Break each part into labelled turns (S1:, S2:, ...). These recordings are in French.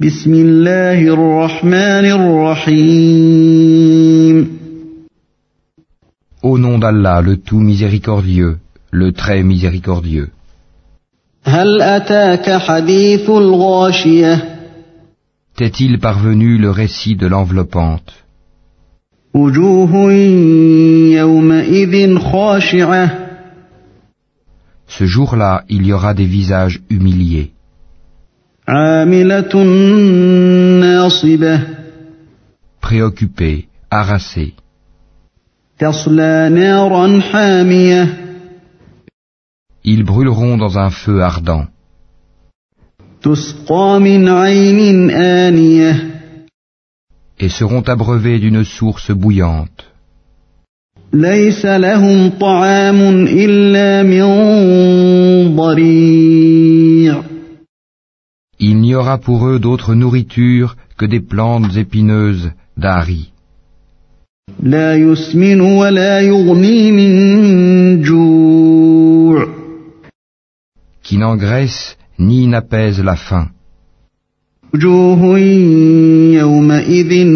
S1: بسم الله الرحمن الرحيم
S2: Au nom d'Allah, le tout miséricordieux, le très miséricordieux.
S1: هل أتاك حديث الغاشية
S2: T'est-il parvenu le récit de l'enveloppante
S1: وجوه يومئذ خاشعة
S2: Ce jour-là, il y aura des visages humiliés,
S1: عاملة ناصبة
S2: préoccupés, harassés.
S1: تصلى نارا حامية
S2: Ils brûleront dans un feu ardent.
S1: تسقى من عين آنية
S2: et seront abreuvés d'une source bouillante.
S1: ليس لهم طعام إلا من ضريع
S2: Il n'y aura pour eux d'autre nourriture que des plantes épineuses d'Ari.
S1: لا يسمن ولا يغني من جوع
S2: qui n'engraissent ni n'apaisent la faim.
S1: وجوه يومئذ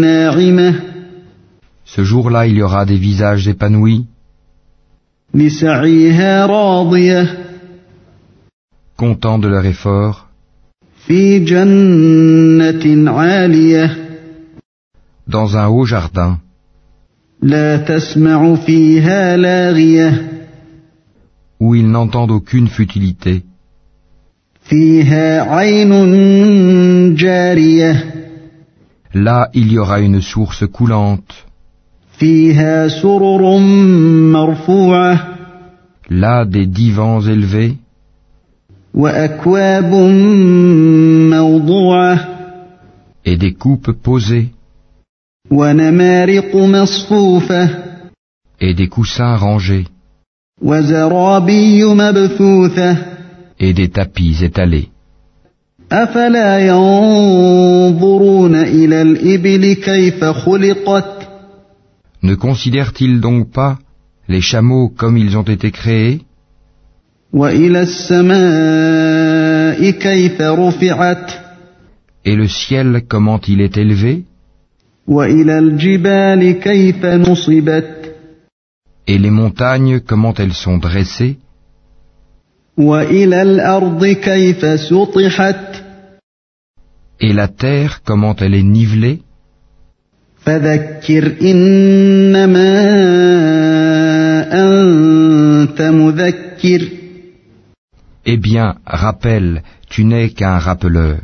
S1: ناعمة
S2: Ce jour-là, il y aura des visages épanouis,
S1: لسعيها راضية
S2: contents de leur effort,
S1: في جنة عالية
S2: dans un haut jardin.
S1: لا تسمع فيها لاغية
S2: où ils n'entendent aucune futilité,
S1: فيها عين جارية
S2: là il y aura une source coulante,
S1: فيها سرر مرفوعة
S2: là des divans élevés,
S1: وأكواب موضوعة
S2: et des coupes posées,
S1: ونمارق مصفوفة
S2: et des coussins rangés,
S1: وزرابي مبثوثة
S2: et des tapis étalés.
S1: أفلا ينظرون إلى الإبل كيف خلقت
S2: Ne considèrent-ils donc pas les chameaux comme ils ont été créés,
S1: وإلى السماء كيف رفعت
S2: et le ciel comment il est élevé,
S1: وإلى الجبال كيف نصبت
S2: et les montagnes comment elles sont dressées,
S1: وإلى الأرض كيف سطحت
S2: et la terre comment elle est nivelée
S1: فذكر إنما أنت مذكر
S2: Eh bien, rappelle, tu n'es qu'un rappeleur.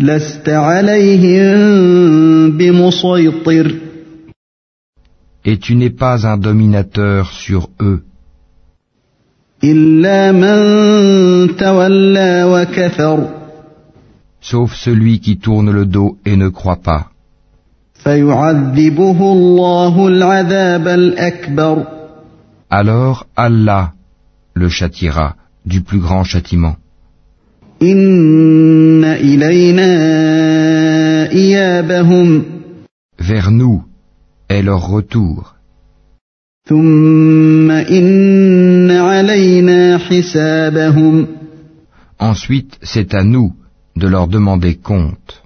S1: لست عليهم بمسيطر
S2: et tu n'es pas un dominateur sur eux,
S1: إلا من تولى وكفر
S2: sauf celui qui tourne le dos et ne croit pas.
S1: فيعذبه الله العذاب الأكبر
S2: Alors Allah le châtiera du plus grand châtiment.
S1: إن إلينا إيابهم
S2: Vers nous est leur retour,
S1: ثم إن علينا حسابهم
S2: ensuite c'est à nous de leur demander compte.